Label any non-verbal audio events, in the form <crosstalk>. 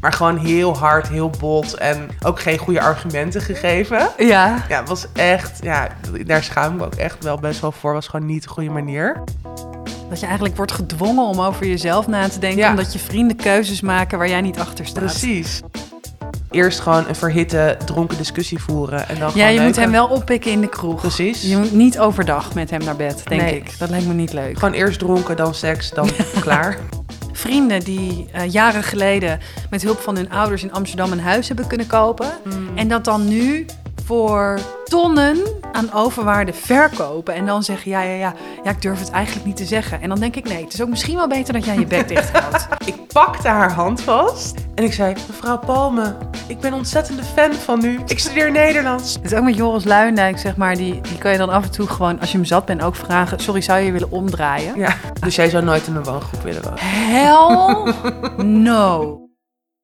Maar gewoon heel hard, heel bot en ook geen goede argumenten gegeven. Ja. Ja, het was echt, ja, daar schaam ik me ook echt wel best wel voor. Was gewoon niet de goede manier. Dat je eigenlijk wordt gedwongen om over jezelf na te denken. Ja. Omdat je vrienden keuzes maken waar jij niet achter staat. Precies. Eerst gewoon een verhitte, dronken discussie voeren. En dan Ja, gewoon je moet leuke- hem wel oppikken in de kroeg. Precies. Je moet niet overdag met hem naar bed, denk Nee. ik. Dat lijkt me niet leuk. Gewoon eerst dronken, dan seks, <laughs> dan klaar. Vrienden die eh, jaren geleden met hulp van hun ouders in Amsterdam een huis hebben kunnen kopen. Hmm. En dat dan nu voor tonnen aan overwaarde verkopen. En dan zeggen, ja, ja, ja, ja, ik durf het eigenlijk niet te zeggen. En dan denk ik, nee, het is ook misschien wel beter dat jij je <laughs> bek dicht houdt. Ik pakte haar hand vast en ik zei: Mevrouw Palme, ik ben ontzettende fan van u. Ik studeer Nederlands. Het is ook met Joris Luijendijk, zeg maar. Die, die kan je dan af en toe gewoon, als je hem zat bent, ook vragen... Sorry, zou je je willen omdraaien? Ja, dus jij zou nooit in een woongroep willen wonen. Hell <laughs> no.